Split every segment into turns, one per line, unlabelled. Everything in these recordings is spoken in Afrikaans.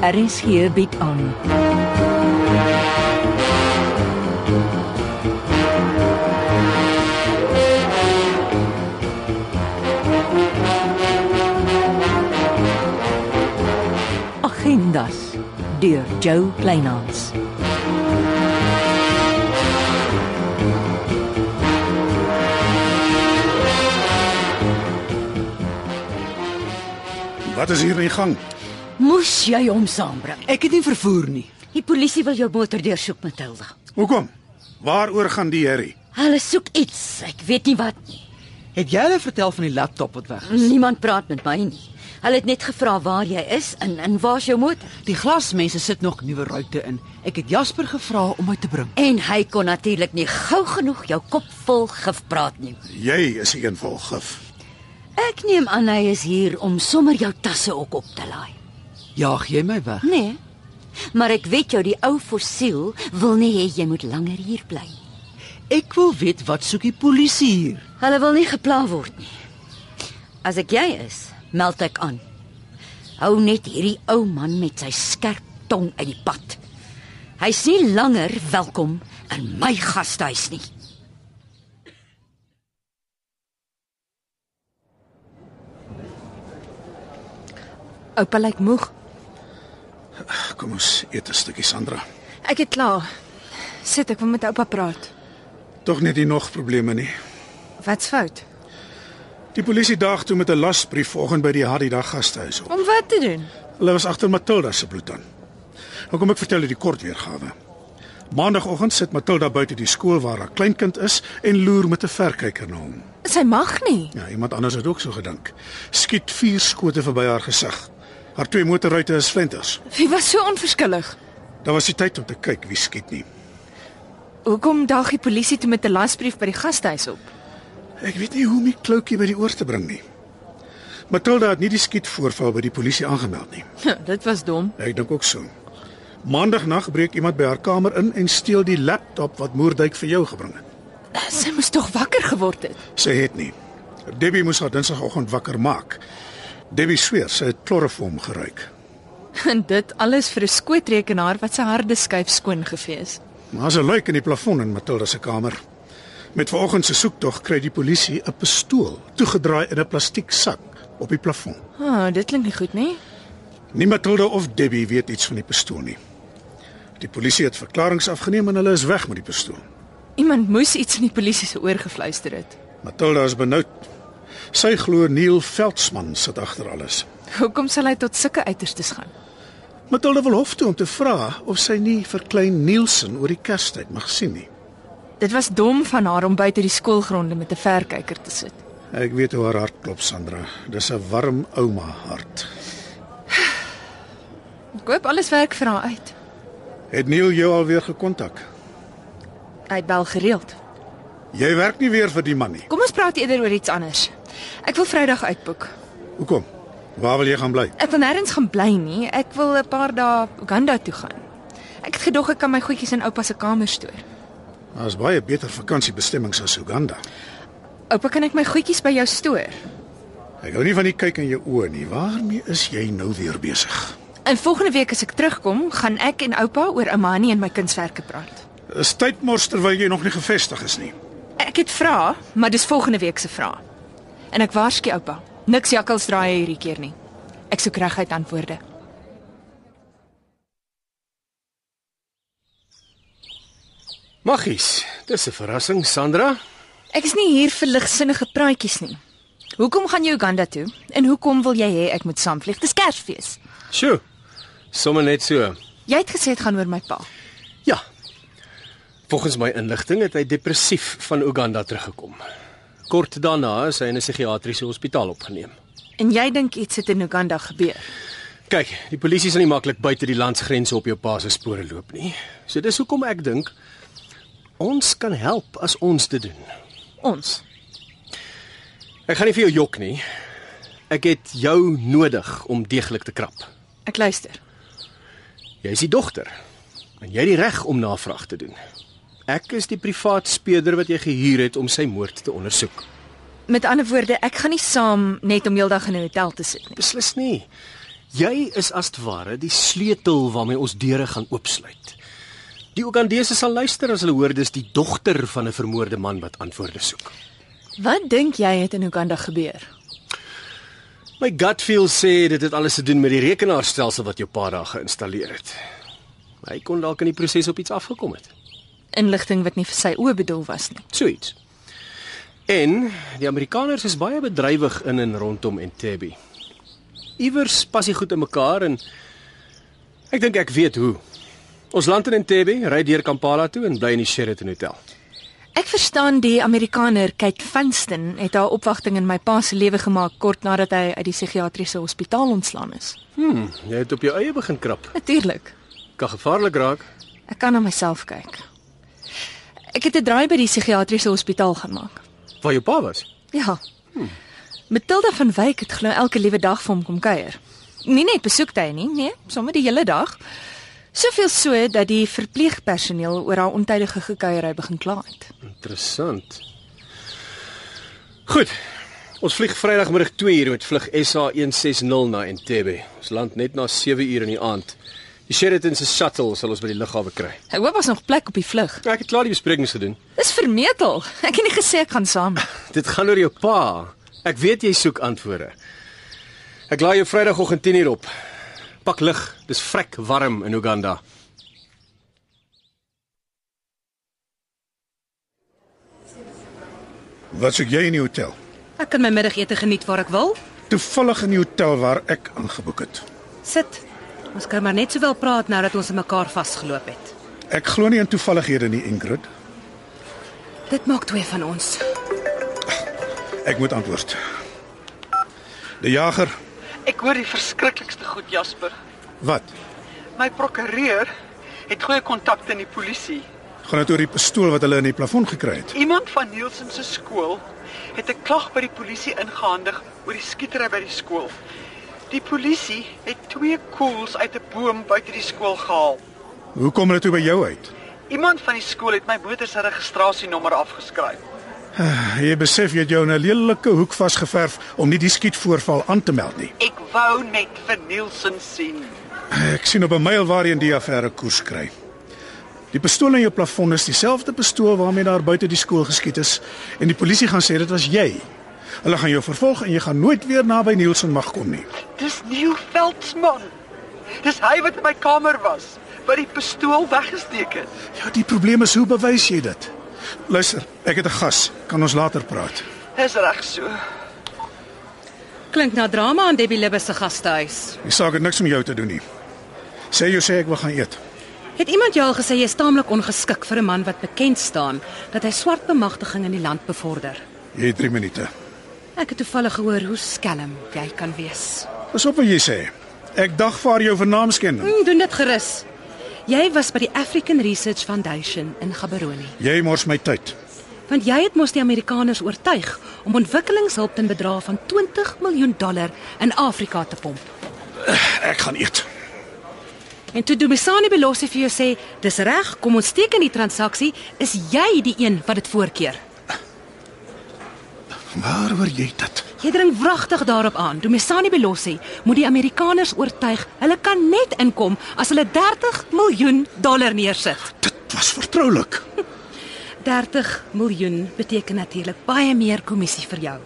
RSG bied aan. Agendas deur Jo Kleinhans.
Wat is hier in gang?
Moes jy hom saambring?
Ek het nie vervoer nie.
Die polisie wil jou motor deursoek, Matilda.
Hoekom? Waaroor gaan die herrie?
Hulle soek iets. Ek weet nie wat nie.
Het jy hulle vertel van die laptop wat weg is?
Niemand praat met my nie. Hulle het net gevra waar jy is en en waar's jou motor?
Die glasmense sit nog nuwe ruite in. Ek het Jasper gevra om my te bring.
En hy kon natuurlik nie gou genoeg jou kop vol gif praat nie.
Jy is een vol gif.
Ek neem aan hy is hier om sommer jou tasse ook op te laai.
Jaag jy my weg?
Nee. Maar ek weet jou die ou fossiel wil nie hê jy moet langer hier bly.
Ek wil weet wat soek die polisie hier?
Hulle wil nie gepla word nie. As ek jy is, meld ek aan. Hou net hierdie ou man met sy skerp tong uit die pad. Hy's nie langer welkom in my gastehuis nie.
Oupa lyk moeg.
Kom ons eet 'n stukkie Sandra.
Ek het klaar. Sit, ek wil met oupa praat.
Tog net nie nog probleme nie.
Wat's fout?
Die polisie daag toe met 'n lasbrief vanoggend by die Hadida gastehuis op.
Om wat te doen?
Hulle was agter Matilda se bloed aan. Nou kom ek vertel u die kort weergawe. Maandagoggend sit Matilda buite die skool waar haar kleinkind is en loer met 'n verkyker na hom.
Sy mag nie.
Ja, iemand anders het ook so gedink. Skiet vier skote verby haar gesig. Haar twee motorruite is flenters.
Wie was so onverskillig?
Daar was nie tyd om te kyk wie skiet nie.
Hoekom daag die polisie toe met 'n lasbrief by die gastehuis op?
Ek weet nie hoe om die kloutjie by die oor te bring nie. Matilda het nie die skietvoorval by die polisie aangemeld nie.
Ja, Dit was dom.
Ek dink ook so. Maandagnag breek iemand by haar kamer in en steel die laptop wat Moerdijk vir jou gebring het.
Sy moes tog wakker geword het.
Sy het nie. Debbie moes haar Dinsdagoggend wakker maak. Debbie sweer sy het kloroform geruik.
En dit alles vir 'n skootrekenaar wat sy harde skuif skoon gevee is.
Maar sy luik in die plafon in Matilda se kamer. Met vanoggend se soektog kry die polisie 'n pistool toegedraai in 'n plastiek sak op die plafon.
Ah, oh, dit klink nie goed nie.
Nie Matilda of Debbie weet iets van die pistool nie. Die polisie het verklaringe afgeneem en hulle is weg met die pistool.
Iemand moes iets in die polisie se oor gefluister het.
Matilda is benoud. Sy glo Neil Veldsmann sit agter alles.
Hoekom sal hy tot sulke uiterstes gaan?
Matilda wil hof toe om te vra of sy nie vir klein Nielsen oor die kerstyd mag sien nie.
Dit was dom van haar om buite die skoolgronde met 'n verkyker te sit.
Ek weet hoe haar hart klop, Sandra. Dis 'n warm ouma hart.
Ek koop alles werk vir haar uit.
Het Neil jou alweer gekontak?
Hy bel gereeld.
Jy werk nie weer vir die man nie.
Kom ons praat eerder oor iets anders. Ek wil Vrydag uitboek.
Hoekom? Waar wil jy gaan bly?
Ek wil nêrens gaan bly nie. Ek wil 'n paar dae Uganda toe gaan. Ek het gedog ek kan my goedjies in oupa se kamer stoor.
Daar's baie beter vakansiebestemmings as Uganda.
Oupa, kan ek my goedjies by jou stoor?
Ek hou nie van die kyk in jou oë nie. Waarmee is jy nou weer besig?
En volgende week as ek terugkom, gaan ek en oupa oor Amani en my kunswerke praat.
Is tyd mors terwyl jy nog nie gevestig is nie.
Ek het vrae, maar dis volgende week se vrae. En ek waarsku oupa, niks jakkals draai hierdie keer nie. Ek soek reguit antwoorde.
Maggies, dis 'n verrassing, Sandra.
Ek is nie hier vir ligsinnige praatjies nie. Hoekom gaan jy Uganda toe? En hoekom wil jy hê ek moet saamvlieg? Dis Kersfees.
Sjoe. Sommige net so.
Jy het gesê dit gaan oor my pa.
Ja. Volgens my inligting het hy depressief van Uganda teruggekom. Kort daarna is hy in 'n psigiatriese hospitaal opgeneem.
En jy dink iets het in Uganda gebeur.
Kyk, die polisie sal nie maklik buite die landsgrense op jou pa se spore loop nie. So dis hoekom ek dink ons kan help as ons dit doen.
Ons.
Ek gaan nie vir jou jok nie. Ek het jou nodig om deeglik te krap.
Ek luister.
Jy is die dogter en jy het die reg om navraag te doen. Ek is die privaat speurder wat jy gehuur het om sy moord te ondersoek.
Met ander woorde, ek gaan nie saam net om heeldag in 'n hotel te sit nie.
Beslis nie. Jy is as te ware die sleutel waarmee ons deure gaan oopsluit. Die Ugandese sal luister as hulle hoor dis die dogter van 'n vermoorde man wat antwoorde soek.
Wat dink jy het in Uganda gebeur?
My gut feel sê dit het alles te doen met die rekenaarstelsel wat jou pa daar geïnstalleer het. Hy kon dalk in die proses op iets afgekom het.
Inligting wat nie vir sy oë bedoel was nie.
So iets. En die Amerikaners is baie bedrywig in en rondom Entebbe. Iewers pas hy goed in mekaar en ek dink ek weet hoe. Ons land in Entebbe, ry deur Kampala toe en bly in die Sheraton Hotel.
Ek verstaan die Amerikaner Kate Vanston het haar opwagting in my pa se lewe gemaak kort nadat hy uit die psigiatriese hospitaal ontslaan is.
Hm, jy het op jou eie begin krap.
Natuurlik.
Kan gevaarlik raak.
Ek kan na myself kyk. Ek het 'n draai by die psigiatriese hospitaal gemaak.
Waar jou pa was.
Ja. Hmm. Matilda van Wyk het glo elke liewe dag vir hom kom kuier. Nie net besoektye nie, nee, sommer die hele dag. Soveel so dat die verpleegpersoneel oor haar ontydige gekuierery begin kla het.
Interessant. Goed. Ons vlieg Vrydagmiddag 2uur met vlug SA 160 na Entebbe. Ons land net na 7uur in die aand. Die Sheraton se shuttle sal ons by die lughawe kry.
Ek hoop daar's nog plek op die vlug.
Ja, Ek het klaar die besprekings gedoen.
Dis vermetel. Ek het nie gesê ek gaan saam nie.
Dit gaan oor jou pa. Ek weet jy soek antwoorde. Ek laai jou Vrydagoggend 10uur op. Pak lig. Dis vrek warm in Uganda.
Wat soek jy in die hotel?
Ek kan my middagete geniet waar ek wil.
Toevallig in die hotel waar ek aangeboek het.
Sit. Ons kan maar net sowel praat nou dat ons in mekaar vasgeloop het.
Ek glo nie in toevallighede nie, Ingrid.
Dit maak twee van ons.
Ek moet antwoord. Die jager,
Ek hoor die verskriklikste goed Jasper.
wat?
My prokureur het goeie kontakte in die polisie.
Gaan dit oor die pistool wat hulle in die plafon gekry het?
Iemand van Nielsen se skool het 'n klag by die polisie ingehandig oor die skietery by die skool. Die polisie het twee koels uit 'n boom buite die skool gehaal.
Hoe kom hulle toe by jou uit?
Iemand van die skool het my motor se registrasienommer afgeskryf.
Jy besef jy het jou in 'n lelike hoek vasgeverf om nie die skietvoorval aan te meld nie.
Ek wou net vir Nielsen sien.
Ek sien op 'n mail waarheen die affære koers kry. Die pistool in jou plafon is dieselfde pistool waarmee daar buite die skool geskiet is en die polisie gaan sê dit was jy. Hulle gaan jou vervolg en jy gaan nooit weer naby Nielsen mag kom nie.
Dis Neil Veldsmann. Dis hy wat in my kamer was, wat die pistool weggesteek het.
Ja, die probleem is hoe bewys jy dit? Luister, ek het 'n gas. Kan ons later praat?
Dis reg so.
Klink na drama aan Debbie Libbe se gastehuis.
Die saak het niks met jou te doen nie. Sê jy sê ek wil gaan eet.
Het iemand jou al gesê jy is taamlik ongeskik vir 'n man wat bekend staan dat hy swart bemagtiging in die land bevorder?
Jy het 3 minute.
Ek het toevallig gehoor hoe skelm jy kan wees.
Pas op wat jy sê. Ek dagvaar jou vernaamskending.
Hm, doen dit gerus. Jy was by die African Research Foundation in Gaborone,
Jy mors my tyd.
want jy het mos die Amerikaners oortuig om ontwikkelingshulp ten bedrae van 20 miljoen dollar in Afrika te pomp.
Ek gaan eet.
En toe Dumisani Belosi vir jou sê, "Dis reg, kom ons teken die transaksie," is jy die een wat dit voorkeur.
Waaroor jy dit?
Jy dring wragtig daarop aan. Domesani Belosi moet die Amerikaners oortuig hulle kan net inkom as hulle 30 miljoen dollar neersit.
Dit was vertroulik.
30 miljoen beteken natuurlik baie meer kommissie vir jou.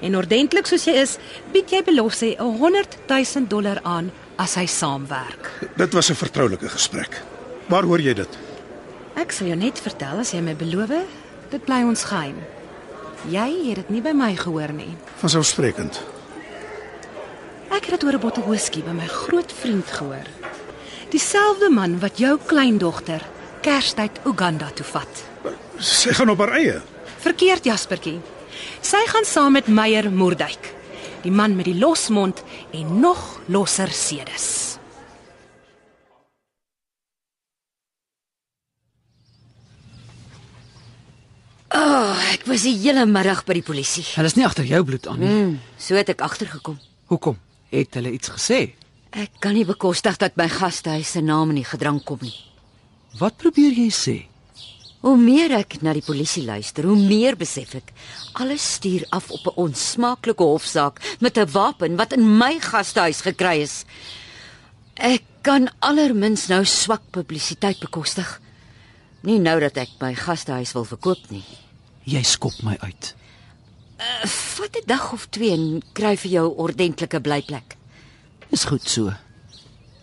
En ordentlik soos jy is, bied jy Belosi 100 000 dollar aan as hy saamwerk.
Dit was 'n vertroulike gesprek. Waar hoor jy dit?
Ek sal jou net vertel as jy my beloof, dit bly ons geheim. Jy het dit nie by my gehoor nie.
Vanselfsprekend.
Ek het dit oor 'n bottel whisky by my groot vriend gehoor. Dieselfde man wat jou kleindogter Kerstyd Uganda toe vat.
Sy gaan op haar eie.
Verkeerd Jaspertjie. Sy gaan saam met Meyer Moerdijk, die man met die losmond en nog losser sedes.
Oh, ek was die hele middag by die polisie.
Hulle is nie agter jou bloed aan nie.
Hmm, so het ek agtergekom.
Hoekom? Het hulle iets gesê?
Ek kan nie bekostig dat my gastehuis se naam in die gedrang kom nie.
Wat probeer jy sê?
Hoe meer ek na die polisie luister, hoe meer besef ek alles stuur af op 'n onsmaaklike hofsaak met 'n wapen wat in my gastehuis gekry is. Ek kan alermins nou swak publisiteit bekostig. Nie nou dat ek my gastehuis wil verkoop nie.
Jy skop my uit.
Vat 'n dag of twee en kry vir jou ordentlike blyplek.
Is goed so.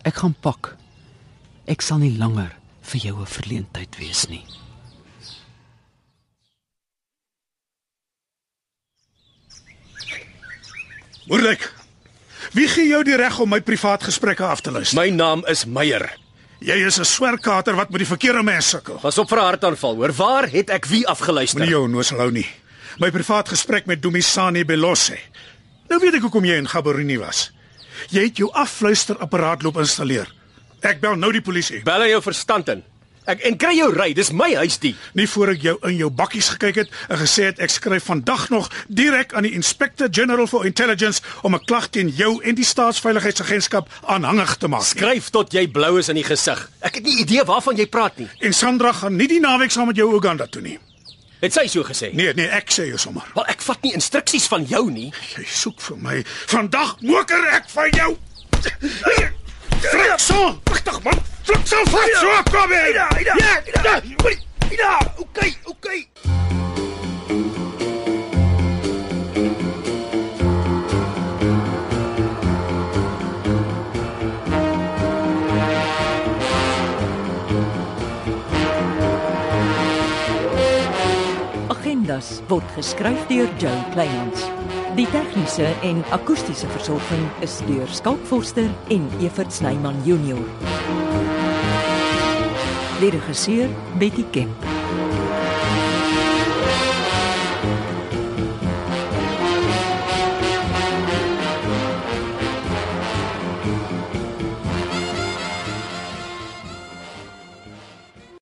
Ek gaan pak. Ek sal nie langer vir jou 'n verleentheid wees nie.
Moeilik. Wie gee jou die reg om my privaat gesprekke af te luister?
My naam is Meyer.
Jy is 'n swerkater wat met die verkeerde mense sukkel.
Pas op vir 'n hartaanval, hoor. Waar het ek wie afgeluister?
Moenie jou onnoos hou nie. My privaat gesprek met Dumisani Belosse. Nou weet ek hoekom jy in Gaborone was. Jy het jou afluisterapparaat loop installeer. Ek bel nou die polisie.
Bel aan jou verstand in. Ek en kry jou ry. Dis my huis die.
Nie voor ek jou in jou bakkies gekyk het en gesê het ek skryf vandag nog direk aan die Inspector General for Intelligence om 'n klag teen jou en die Staatsveiligheidsagentskap aanhangig te maak. nie.
Skryf tot jy blou is in die gesig. Ek het nie idee waarvan jy praat nie.
En Sandra gaan nie die naweek saam met jou Uganda toe nie.
Het sy so gesê?
Nee, nee, ek sê jou sommer.
Wel, ek vat nie instruksies van jou nie.
Jy soek vir my. Vandag moker ek vir jou. Frikson, pragtig man. Frikson, vat so kom hier. Ja, ja. Ja, okay, okay.
Agendas word geskryf deur Joe Kleinhans. Die tegniese en akoestiese versorging is deur Skalk Forster en Evert Snyman Junior. Lede regisseur Betty Kemp.